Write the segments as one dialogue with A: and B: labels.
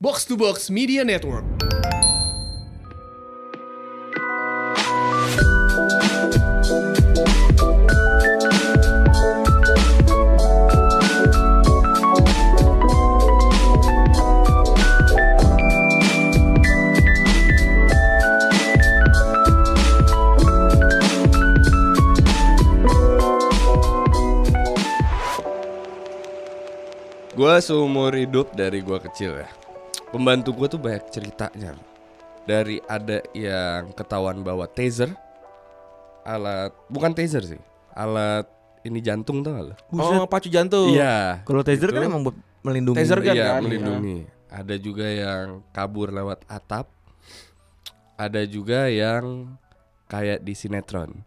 A: Box to Box Media Network.
B: Gua seumur hidup dari gua kecil ya. Pembantu gua tuh banyak ceritanya. Dari ada yang ketahuan bawa taser, alat bukan taser sih, alat ini jantung tau gak lo?
C: Oh, pacu jantung.
B: Iya.
D: Kalau taser
B: Gitu.
D: kan emang buat melindungi.
C: Taser kan
B: Iya
C: kan?
B: melindungi. Ada juga yang kabur lewat atap. Ada juga yang kayak di sinetron.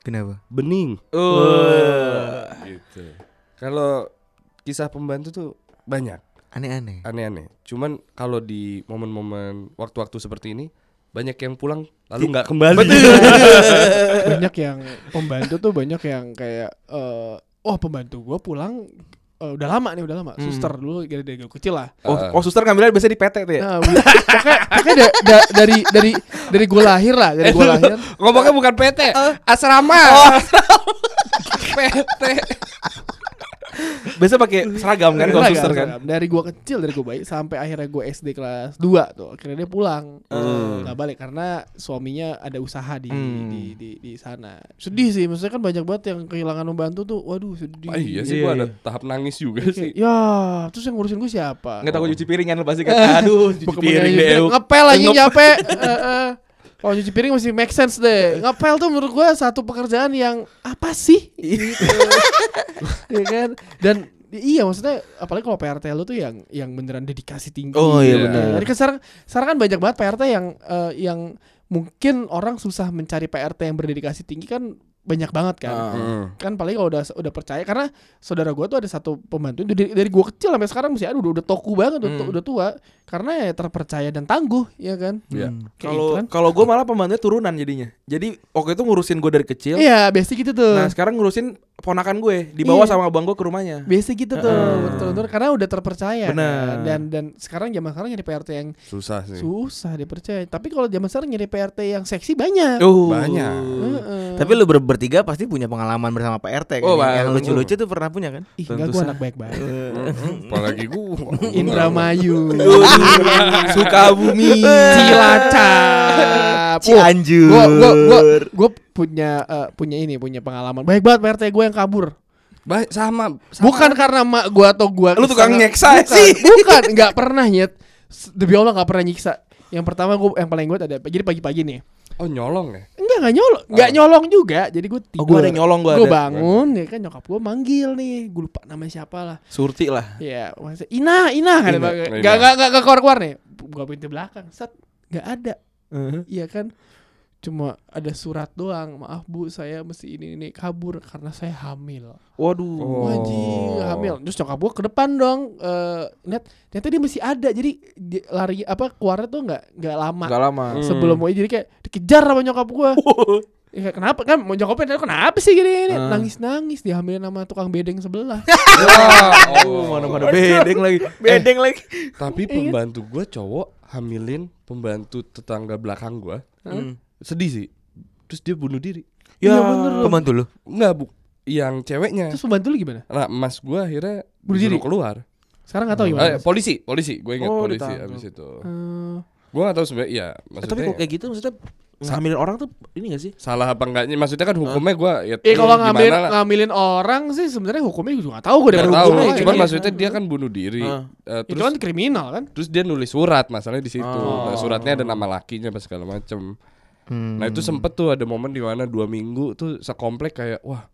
D: Kenapa?
B: Bening.
C: Iya. Uh. Eh,
B: Gitu. Kalau kisah pembantu tuh banyak.
D: Aneh-aneh.
B: aneh-aneh. Cuman kalau di momen-momen waktu-waktu seperti ini banyak yang pulang lalu nggak kembali.
A: banyak yang pembantu tuh banyak yang kayak eh, oh pembantu gue pulang eh, udah lama nih udah lama
C: Hmm.
A: suster dulu dari dari gua kecil lah
C: Oh,
B: Ah.
C: oh, suster ngambilnya biasa di PT
D: Iya.
C: tuh ya.
A: nah, wi- pokoknya, pokoknya da- da- dari dari dari gue lahir lah dari gue lahir
B: Ngomongnya bukan PT,
D: Uh.
B: asrama. PT.
C: Biasa pakai seragam kan kalau
A: Seragam,
C: suster kan.
A: seragam. dari gue kecil dari gue bayi sampai akhirnya gue SD kelas 2 tuh akhirnya dia pulang
C: Hmm.
A: nggak balik karena suaminya ada usaha di
C: Hmm.
A: di, di di sana sedih sih maksudnya kan banyak banget yang kehilangan pembantu tuh waduh sedih
B: Ah, iya sih
C: Iya,
B: gua
C: iya.
B: ada tahap nangis juga
A: Kayak,
B: sih.
A: ya terus yang ngurusin gue siapa
C: Enggak tahu cuci piring kan lu pasti kan. Aduh, cuci
A: Bukan
C: piring
D: gitu.
A: menyanyi
C: deh.
A: juga. Ngepel lagi nyape. Heeh. Kalau cuci piring masih make sense deh. Ngepel tuh menurut gua satu pekerjaan yang apa sih? Gitu. Iya kan? Dan i- iya maksudnya apalagi kalau PRT lu tuh yang yang beneran dedikasi tinggi.
D: Oh
B: iya,
A: Gitu.
B: benar.
A: Jadi kan sekarang sekarang kan banyak banget PRT yang eh, yang mungkin orang susah mencari PRT yang berdedikasi tinggi kan banyak banget kan
B: Heeh.
A: kan paling kalau udah udah percaya karena saudara gua tuh ada satu pembantu itu dari, dari gue kecil sampai sekarang masih ada udah udah toku banget udah,
C: Hmm.
A: udah tua karena ya terpercaya dan tangguh ya kan
B: Iya.
A: Kayak
C: Kalau
A: gitu kan.
C: kalau gue malah pembantu turunan jadinya. Jadi waktu itu ngurusin gue dari kecil.
A: iya biasanya gitu tuh
C: Nah sekarang ngurusin ponakan gue dibawa
A: Iya.
C: sama abang gue ke rumahnya.
A: biasanya gitu tuh
C: Heeh.
A: betul betul karena udah terpercaya
C: eh,
A: kan.
C: Benar.
A: dan dan sekarang zaman sekarang nyari PRT yang
B: Susah sih.
A: susah dipercaya tapi kalau zaman sekarang nyari PRT yang seksi
D: Iya.
A: banyak
C: Oh.
B: Banyak.
A: Heeh.
D: Tapi lu ber- bertiga pasti punya pengalaman bersama PRT kan?
C: Oh,
D: yang,
C: Pak,
D: yang
C: betul.
D: lucu-lucu tuh pernah punya kan?
A: ih enggak
C: tentu
A: gue
C: saja.
A: anak baik-baik
B: Hmm, Apalagi gua.
A: Indramayu
C: Sukabumi.
A: Cilacap Wah,
D: Cianjur.
A: Oh, gua gua gua gua punya eh, punya ini punya pengalaman baik banget PRT gue yang kabur
B: Ba- sama, sama.
A: bukan karena mak gua atau gua
C: Lu tukang
A: kesana.
C: nyeksa
A: bukan,
C: sih.
A: bukan nggak pernah nyet S- demi Allah nggak pernah nyiksa yang pertama gua yang paling gue ada jadi pagi-pagi nih
B: Oh nyolong ya.
A: enggak enggak nyolong enggak nyolong juga jadi gue
C: Oh
A: tidur
C: gue ada nyolong gue
A: Gua
C: ada.
A: bangun ya kan nyokap gue manggil nih gue lupa namanya siapa lah
C: Surti lah.
A: ya maksudnya Ina Ina kan
B: Ina,
A: Bang.
B: Ina.
A: nggak nggak nggak nggak keluar keluar nih gua pintu belakang set nggak ada
C: Uh-huh.
A: Iya kan cuma ada surat doang maaf bu saya mesti ini ini kabur karena saya hamil
C: Waduh.
B: Oh.
A: Wajib hamil terus nyokap gue ke depan dong eh net ternyata dia masih ada jadi dia lari apa keluarnya tuh nggak nggak lama
C: Gak lama.
B: Hmm.
A: sebelum mau jadi kayak dikejar sama nyokap gue
C: Oh.
A: Ya, kenapa kan mau nyokapnya kenapa sih gini ini
C: Ah.
A: nangis nangis dihamilin sama tukang bedeng sebelah
B: Eh. Wah,
C: Oh,
B: oh.
C: mana mana bedeng lagi. Eh.
D: bedeng lagi.
B: Tapi pembantu gua cowok hamilin pembantu tetangga belakang gua.
D: Hmm.
B: Sedih sih. Terus dia bunuh diri.
C: Ya,
D: Pembantu lu.
B: Enggak, Bu. Yang ceweknya.
A: terus pembantu lu gimana
B: Nah, mas gua akhirnya
A: Bunuh
B: disuruh
A: diri?
B: keluar.
A: sekarang nggak tahu gimana
B: Eh, polisi, polisi. Gue ingat
C: Oh,
B: polisi
C: ditangkap.
B: abis itu.
A: Eh,
B: Gua gak tahu sebenarnya iya,
C: Eh,
B: maksudnya
C: tapi kok kayak gitu maksudnya ngambilin orang tuh ini gak sih?
B: salah apa enggaknya? Maksudnya kan hukumnya gua ya
A: Eh kalau
B: gimana
A: ngambilin
B: lah.
A: ngambilin orang sih sebenarnya hukumnya juga nggak tahu gue
B: Nggak
A: dari
B: tahu,
A: hukumnya.
B: cuman
A: Iya.
C: gitu.
B: maksudnya dia kan bunuh diri.
C: Heeh.
B: Eh,
A: itu
B: terus
A: kan kriminal kan?
B: terus dia nulis surat masalahnya di situ.
C: Oh.
B: Nah, suratnya ada nama lakinya apa segala macem
D: Hmm.
B: Nah, itu sempet tuh ada momen di mana dua minggu tuh sekomplek kayak wah,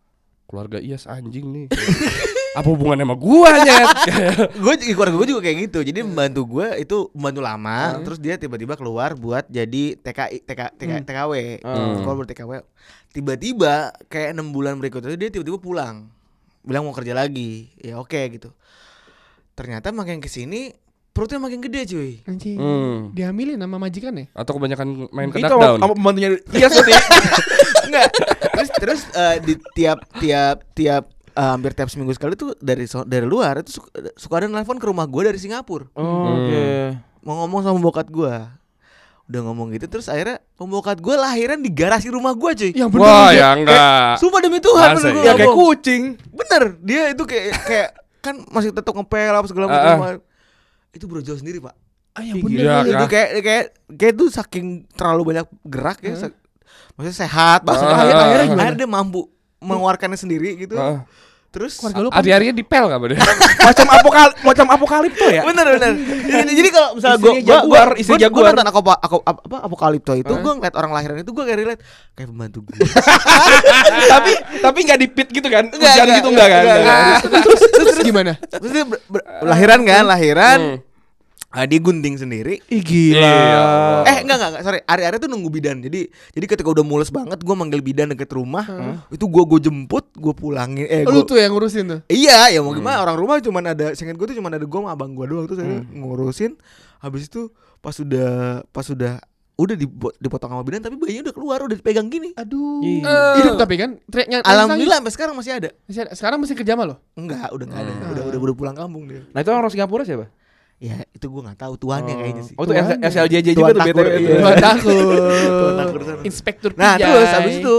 B: keluarga Iyas anjing nih. apa hubungannya sama gua nyet? Kayak,
D: gue keluarga gue juga kayak gitu jadi membantu gue itu membantu lama
A: Hmm.
D: terus dia tiba-tiba keluar buat jadi TKI TK, TK TKW
B: Hmm.
D: keluar buat TKW tiba-tiba kayak enam bulan berikutnya dia tiba-tiba pulang bilang mau kerja lagi ya oke gitu ternyata makin kesini perutnya makin gede cuy
A: Anjing.
B: hmm.
A: Dihamilin sama majikan ya?
B: Atau kebanyakan main
C: Itu
B: kedak
C: sama
B: down.
C: sama pembantunya. Iya, Surti.
D: Enggak. terus terus eh, di tiap tiap tiap eh, hampir tiap seminggu sekali tuh dari so- dari luar itu suka, suka ada nelfon ke rumah gue dari Singapura
C: Oh,
B: Hmm.
C: Oke.
D: mau ngomong sama bokat gue udah ngomong gitu terus akhirnya pembokat gue lahiran di garasi rumah gue cuy
A: Yang bener
B: Wah,
A: ya.
B: ya enggak.
D: Sumpah demi Tuhan
B: Masa
D: bener gue
B: iya?
C: Ya kayak
D: ngomong.
C: kucing.
D: Bener dia itu kayak kayak kan masih tetap ngepel apa segala
B: Ah,
D: macam itu brojo sendiri pak
A: Ah, yang
B: Iya,
A: bener.
B: kan?
D: itu kayak kayak kayak itu saking terlalu banyak gerak ya sak- maksudnya sehat banget
B: Ah,
D: akhirnya,
B: ah,
D: akhirnya
B: ah.
D: gimana? Akhirnya dia mampu mengeluarkannya sendiri gitu
B: Heeh.
D: terus
A: Keluarga lu kan
B: Hari-harinya dipel enggak, Bang?
C: macam apokal macam apokalipto ya.
D: bener bener jadi, jadi kalau misalnya gue
C: Istrinya
D: gue gue
C: jaguar, istri
D: gue
C: jaguar.
D: nonton aku aku apa apa, apokalipto itu gue ngeliat orang lahiran itu gue kayak relate kayak pembantu gue
C: tapi tapi nggak dipit gitu kan? Hujan gitu enggak kan?
D: terus terus gimana terus dia ber- ber- kan? lahiran kan
C: Hmm.
D: lahiran ah, dia gunting sendiri
C: Ih
B: Iya,
C: Oh.
B: Allah.
D: Eh enggak enggak enggak, sorry Ari-ari tuh nunggu bidan Jadi jadi ketika udah mules banget Gue manggil bidan deket rumah
C: Hmm.
D: Itu gue gue jemput Gue pulangin Eh
C: Oh,
A: lu
D: gua,
A: tuh yang ngurusin tuh.
D: Iya ya mau
C: Hmm.
D: gimana Orang rumah cuman ada Seinget gue tuh cuman ada gue sama abang gue doang Terus saya ngurusin Habis itu Pas udah Pas udah Udah dibo- dipotong sama bidan Tapi bayinya udah keluar Udah dipegang gini
A: Aduh.
C: Iya.
A: Hidup tapi kan teriaknya
D: Alhamdulillah sampai sekarang masih ada
A: Masih ada. Sekarang masih kerja sama lo.
D: Enggak udah enggak ada
C: Hmm.
D: udah, udah udah pulang kampung dia
C: Nah itu orang Singapura siapa?
D: Ya itu gue gak tahu Tuannya kayaknya sih
C: Oh itu
A: Tuan.
C: SLJJ
D: Tuan
C: juga tuh
D: Takur,
C: BTW itu.
D: iya.
A: Gua takut.
D: Tuan takut sana.
A: Inspektur
D: Nah
A: pijai.
D: terus abis itu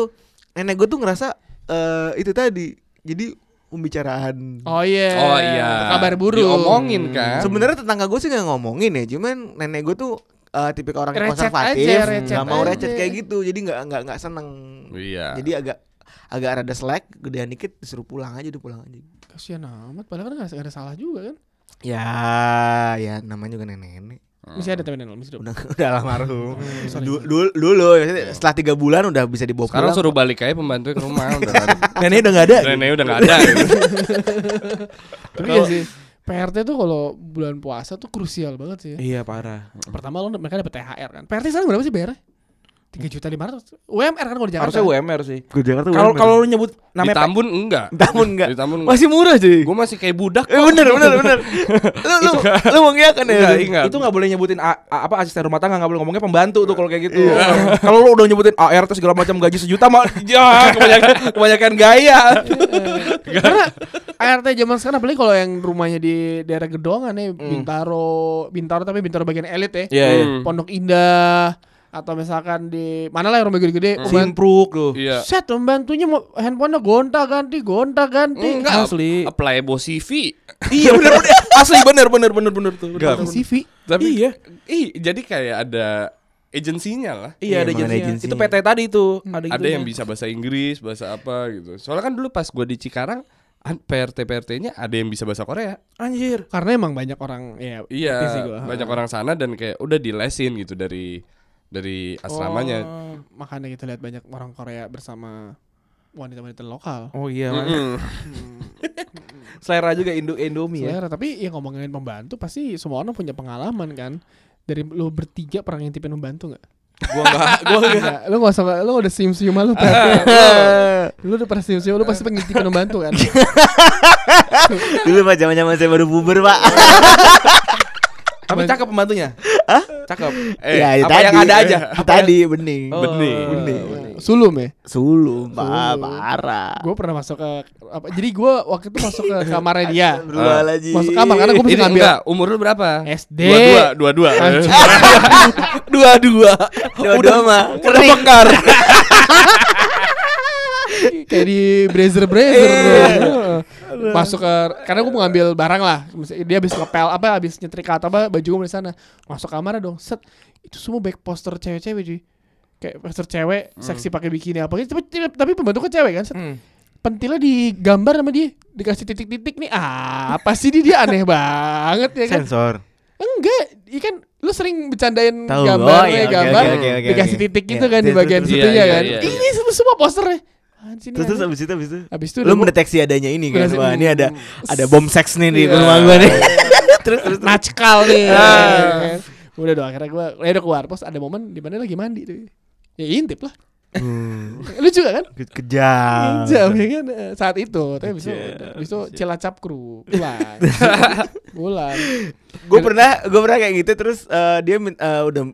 D: nenek gue tuh ngerasa eh itu tadi jadi pembicaraan
A: Oh iya.
B: Oh iya.
A: Kabar buruk. Hmm.
B: Diomongin kan.
D: sebenarnya tetangga gue sih nggak ngomongin ya cuman nenek gue tuh eh tipikal orang yang
A: Recet
D: konservatif
A: aja, recet
D: nggak mau
A: aja.
D: recet kayak gitu jadi nggak nggak nggak seneng
B: Iya.
D: jadi agak agak rada slack gedean dikit disuruh pulang aja udah pulang aja
A: Kasihan amat. Padahal kan nggak nggak ada salah juga kan.
D: ya ya namanya juga nenek nenek
B: Hmm.
A: Masih ada tapi nenek lo masih hidup.
D: udah udah almarhum
A: sorry.
D: Du- dul- dulu ya, setelah tiga bulan udah bisa dibawa
B: Sekarang
D: pulang
B: suruh balik aja pembantu ke rumah udah nggak ada.
D: nenek udah nggak ada
B: Nenek udah enggak ada.
A: Tapi iya sih. PRT tuh kalau bulan puasa tuh krusial banget sih. ya.
C: Iya parah.
A: Pertama lo mereka dapat THR kan. PRT sekarang berapa sih bayarnya? Tiga juta lima ratus. UMR kan kalau di
C: Harusnya
A: Jakarta.
C: UMR sih.
D: Ke Jakarta
C: Kalau
D: UMR.
C: kalau lu nyebut
B: Di
C: namanya
B: Tambun enggak.
D: Tambun nggak
B: Di Tambun enggak.
D: masih murah cuy
B: Gue masih kayak budak.
D: Eh bener bener bener Lu lu lu mau ngiakan ya
B: Enggak,
D: Rin?
B: ingat.
C: itu nggak boleh nyebutin A- A- apa asisten rumah tangga nggak boleh ngomongnya pembantu tuh kalau kayak gitu. kalau lu udah nyebutin ART segala macam gaji sejuta mah ya kebanyakan, kebanyakan gaya.
A: Karena ART zaman sekarang apalagi kalau yang rumahnya di daerah Gedongan ya
D: Hmm.
A: Bintaro, Bintaro tapi Bintaro bagian elit ya.
C: Iya iya.
B: Hmm.
A: Pondok Indah atau misalkan di mana lah yang rumah gede-gede.
B: Hmm.
A: pembantu-
C: Simpruk lu.
B: Iya.
A: Set pembantunya mau handphonenya gonta ganti gonta ganti.
B: Enggak.
C: Asli.
B: Apply bos CV.
C: iya bener bener asli bener bener bener bener tuh.
B: Enggak.
A: Pakai CV.
B: Tapi
C: Iya.
B: Ih, jadi kayak ada agensinya lah.
C: Iya ada
D: Iya, emang ada
C: agensinya. Hmm.
D: agensinya.
C: Itu PT tadi tuh ada
B: Ada yang bisa bahasa Inggris, bahasa apa gitu. Soalnya kan dulu pas gue di Cikarang, an- PRT PRT-nya ada yang bisa bahasa Korea.
C: Anjir.
A: Karena emang banyak orang ya
B: Iya,
A: ngerti sih gua.
B: banyak orang sana dan kayak udah dilesin gitu dari dari asramanya.
C: Oh.
A: Makanya kita lihat banyak orang Korea bersama wanita-wanita lokal.
C: Oh iya. Mas.
B: Mm-mm.
C: Selera juga Indo Indomie ya.
A: Selera, tapi ya ngomongin pembantu pasti semua orang punya pengalaman kan. Dari lo bertiga pernah ngintipin pembantu nggak?
C: Gua enggak gua enggak.
A: Enggak, lo gak usah, lo udah sium-sium lu Lu udah pernah sium-sium, lu pasti pengintipin pembantu kan
B: Iya.
D: Dulu pak zaman zaman saya baru puber pak
C: Tapi cakep pembantunya. Hah? Cakep.
B: Eh,
D: Ya,
C: apa yang ada aja?
D: Apa Tadi bening
C: Oh.
B: bening.
C: Bening.
A: Sulum ya
D: Sulum pak
A: Sulum.
D: parah
A: Gue pernah masuk ke apa, Jadi gue waktu itu masuk ke kamarnya dia
D: Astagfirullahaladzim.
A: Masuk kamar karena gue
B: Ini
A: mesti ngambil
B: enggak, umur lu berapa?
A: SD
B: Dua-dua, dua-dua.
A: Anjing.
C: Dua-dua.
D: Dua-dua mah
C: Udah mekar.
A: Kayak di brazier brazier
B: Eh.
A: Masuk ke Karena gue mau ngambil barang lah Misalnya Dia habis ngepel apa Habis nyetrika atau apa Baju gue di sana Masuk kamarnya dong Set Itu semua back poster cewek-cewek cuy Kayak poster cewek
B: Hmm.
A: Seksi pakai bikini apa gitu Tapi, tapi pembantu kan cewek kan Set pentilnya digambar sama dia dikasih titik-titik nih ah, apa sih dia, dia aneh banget ya kan
D: Sensor
A: enggak ikan Iya kan, lu sering bercandain
D: Tahu,
A: gambar ya,
D: oh, iya, oke,
A: gambar
B: oke, oke,
D: oke,
A: dikasih
D: oke.
A: titik
D: Iya,
A: gitu kan di
D: terus,
A: bagian
D: terus,
B: terus.
A: situnya
B: Iya,
A: kan
B: iya, iya.
A: ini semua- semua posternya Apaan sih ini
D: Terus terus
A: aneh?
D: abis itu abis itu
A: habis itu
D: Lu
A: udah gua-
D: mendeteksi adanya ini kan
A: Mendeteksi,
D: Wah ini ada
A: hmm.
D: Ada bom seks nih di
A: Iya.
D: rumah gue nih Terus terus terus.
A: nakal nih
D: Ah.
A: ya kan? udah dong akhirnya gue ya udah keluar pos ada momen di mana lagi mandi tuh ya intip lah
D: Hmm,
A: lu juga kan
D: ke- Kejam
A: jam ya kan eh, saat itu tapi bisa
B: Kejam,
A: bisa
B: kejam.
A: cilacap kru pulang pulang
D: Gue pernah Gue pernah kayak gitu Terus eh, dia min- eh, udah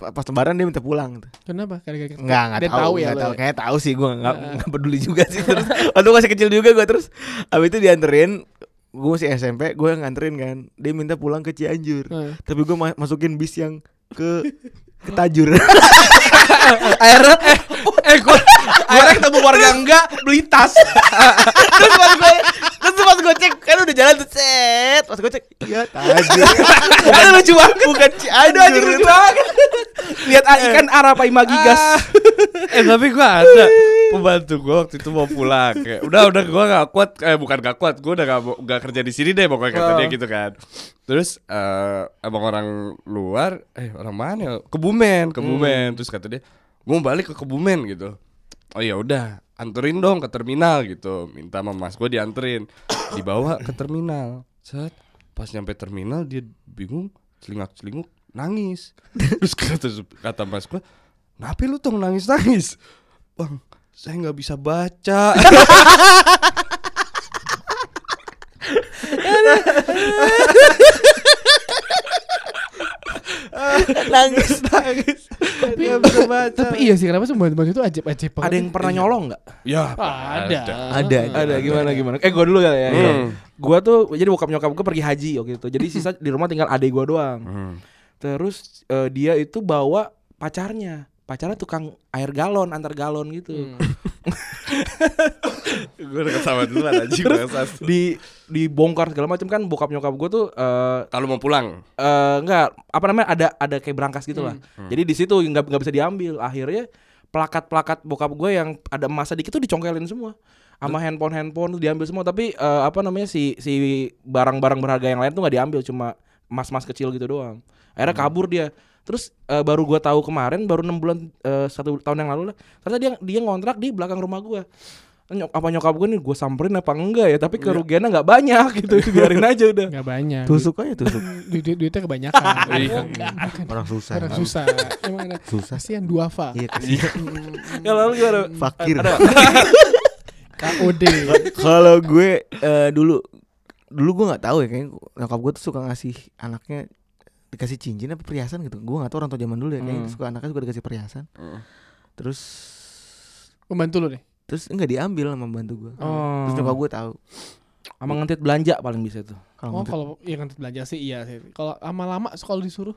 D: pa- pas lebaran dia minta pulang tuh.
A: Kenapa? Gara-gara
D: Enggak, enggak
A: Dia
D: tahu,
A: tahu ya
D: enggak
A: lo
D: tahu.
A: ya?
D: Kayaknya tahu sih gua enggak
A: Heeh.
D: enggak peduli juga sih terus. Waktu masih kecil juga gua terus habis itu dianterin gua masih SMP, gua yang nganterin kan. Dia minta pulang ke Cianjur.
A: Heeh.
D: Tapi gua ma- masukin bis yang ke ke Tajur.
C: akhirnya eh eh gua akhirnya ketemu warga enggak beli tas
D: terus pas gue terus pas gue cek kan udah jalan tuh set pas gue cek iya Tajur. bukan lucu banget bukan
C: aduh anjing
D: Cianjur.
C: lucu banget lihat ah, ikan arah Pak Imagi gas
B: eh tapi gua ada pembantu gua waktu itu mau pulang kayak udah udah gua gak kuat eh bukan gak kuat gua udah gak, mau- gak kerja di sini deh pokoknya kata dia gitu kan terus eh emang orang luar eh orang mana ya? kebumen kebumen terus kata dia gua mau balik ke kebumen gitu oh ya udah anterin dong ke terminal gitu minta sama mas gua dianterin dibawa ke terminal set pas nyampe terminal dia bingung celingak celinguk nangis terus kata kata mas gua Kenapa lu tuh nangis nangis? Bang, saya nggak bisa baca.
D: nangis
A: Tapi, tapi iya sih kenapa semua bantu itu ajaib-ajaib banget.
C: ada yang pernah nyolong nggak
B: ya,
A: ada.
D: Ada,
C: ada gimana gimana eh gua dulu kali ya
B: Hmm.
C: gua tuh jadi bokap nyokap gua pergi haji waktu itu jadi sisa di rumah tinggal adek gua doang
B: Hmm.
C: terus eh, dia itu bawa pacarnya pacarnya tukang air galon antar galon gitu
A: Hmm.
B: Gue udah ketawa dulu anjing bangsat.
C: di dibongkar segala macam kan bokap nyokap gue tuh eh
B: Kalau mau pulang,
C: eh, enggak apa namanya ada ada kayak berangkas
D: Hmm.
C: gitu lah. Jadi di situ nggak nggak bisa diambil. Akhirnya plakat-plakat bokap gue yang ada emas sedikit tuh dicongkelin semua. Sama handphone-handphone tuh diambil semua tapi eh, apa namanya si si barang-barang berharga yang lain tuh nggak diambil cuma emas-emas kecil gitu doang. Akhirnya
D: Hmm.
C: kabur dia. Terus eh, baru gua tahu kemarin baru 6 bulan eh, satu tahun yang lalu lah. Ternyata dia dia ngontrak di belakang rumah gua. Nyok, apa nyokap gue nih gue samperin apa enggak ya
D: Iya.
C: tapi kerugiannya nggak banyak gitu biarin aja udah
A: Enggak banyak.
D: tusuk aja tusuk
A: Duit, duit- duitnya kebanyakan.
B: Iya.
A: Bukan.
D: orang susah
A: Kan. Orang susah. Emang ada.
D: susah
A: Kasihan duafa.
D: iya kasihan.
A: Mm,
C: Kalau lu Ya, gimana?
D: fakir
C: Ada-
A: KOD.
D: kalau gue eh, dulu dulu gue nggak tahu ya kayaknya gua- nyokap gue tuh suka ngasih anaknya dikasih cincin apa perhiasan gitu gue nggak tahu orang tua zaman dulu ya kayaknya
C: Hmm.
D: suka anaknya suka dikasih perhiasan
B: Hmm.
D: terus
A: Membantu lu nih.
D: terus enggak diambil sama bantu gue
C: Oh.
D: terus nyokap gue tahu
C: Sama ngentit belanja paling bisa itu.
D: kalau
A: Oh,
D: ngutip.
A: kalau yang nanti belanja sih iya sih. Kalau lama-lama kalau disuruh.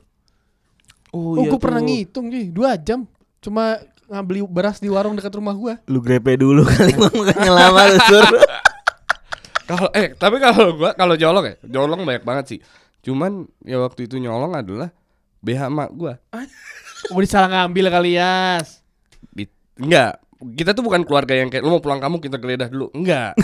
C: Oh,
A: Oh, gue pernah ngitung sih, dua jam. Cuma ngambil beras di warung dekat rumah gua.
D: lu grepe dulu kali Bang, makanya lama lu suruh
B: kalau eh tapi kalau gua kalau nyolong ya, nyolong banyak banget sih. Cuman ya waktu itu nyolong adalah BH mak gua.
A: Oh, disalah ngambil kali ya.
B: Di- Enggak, kita tuh bukan keluarga yang kayak lu mau pulang kamu kita geledah dulu. Enggak.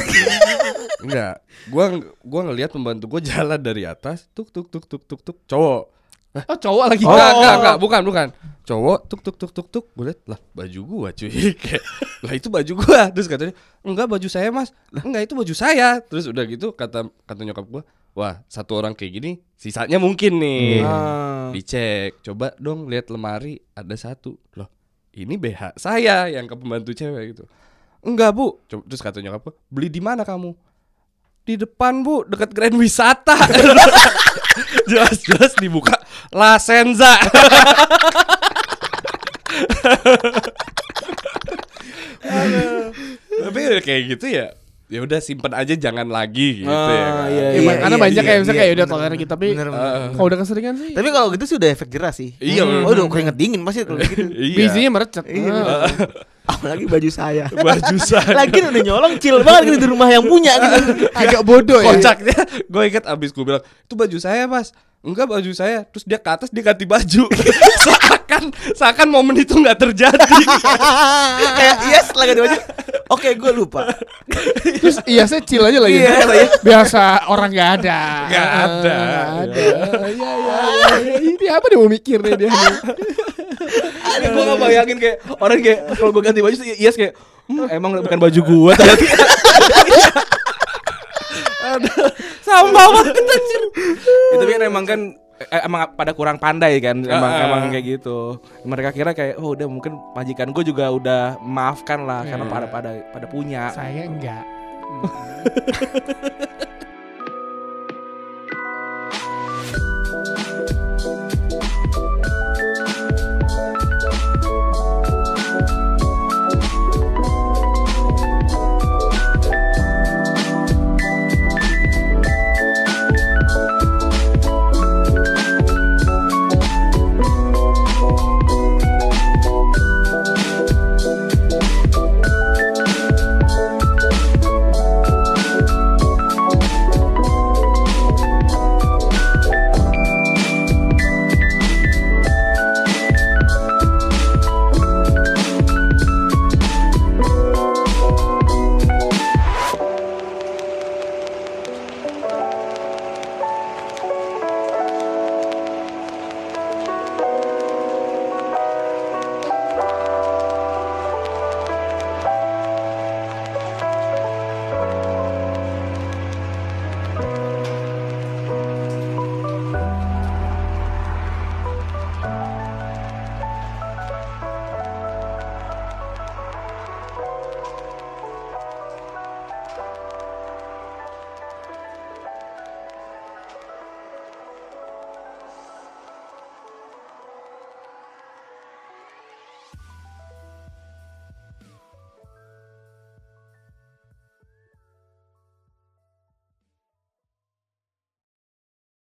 B: Enggak. Gua gua ngelihat pembantu gua jalan dari atas, tuk tuk tuk tuk tuk tuk cowok.
A: Oh, cowok lagi.
B: Oh, enggak, enggak, enggak, bukan, bukan. Cowok tuk tuk tuk tuk tuk, gue liat lah baju gua cuy. Kayak, lah itu baju gua. Terus katanya, "Enggak baju saya, Mas." "Enggak, itu baju saya." Terus udah gitu kata kata nyokap gua, "Wah, satu orang kayak gini, sisanya mungkin nih." Nah, Dicek, coba dong lihat lemari ada satu. Loh, ini BH saya yang ke pembantu cewek gitu. Enggak, Bu. Coba, terus kata nyokap gua, "Beli di mana kamu?" Di depan, Bu, dekat Grand Wisata. Jelas-jelas dibuka La Senza. Tapi udah kayak gitu ya. Ya udah simpen aja jangan lagi gitu ya.
C: Ah,
B: kan.
C: iya,
A: Ya,
C: iya,
A: karena
D: iya,
A: banyak
D: iya,
A: kayak misalnya
D: iya,
A: kayak udah
D: bener,
A: toleran
D: bener,
A: gitu tapi
D: bener, bener.
B: Eh,
A: kalau udah keseringan sih.
D: Iya. tapi kalau gitu sih udah efek jerah sih
B: Iya,
D: Hmm.
B: bener.
D: oh udah keringet dingin pasti kalau gitu
B: Iya.
A: Bijinya merecet.
D: Iya.
A: Ah.
D: apalagi baju saya
B: baju saya.
D: lagi udah nyolong chill banget gitu di rumah yang punya gitu
A: Agak bodoh ya.
B: Kocaknya gue inget abis gue bilang itu baju saya mas Enggak baju saya Terus dia ke atas dia ganti baju Seakan Seakan momen itu nggak terjadi
D: kayak yes lagi ada baju oke gue lupa
A: Terus iya saya chill aja lagi. Biasa orang nggak ada. Ah,
B: Nggak ada.
A: Nggak ada. Iya iya. iya. Ini apa dia mau mikir nih dia?
C: Aduh, gua gak bayangin kayak orang kayak kalau gua ganti baju sih yes kayak "Hmm, emang bukan baju gua tadi. Aduh, Sampah banget anjir. Ya, tapi kan emang kan eh, emang pada kurang pandai kan emang
B: Ah.
C: emang kayak gitu mereka kira kayak oh udah mungkin majikan gua juga udah maafkan lah karena
B: Iya.
C: pada pada pada punya
A: Saya enggak.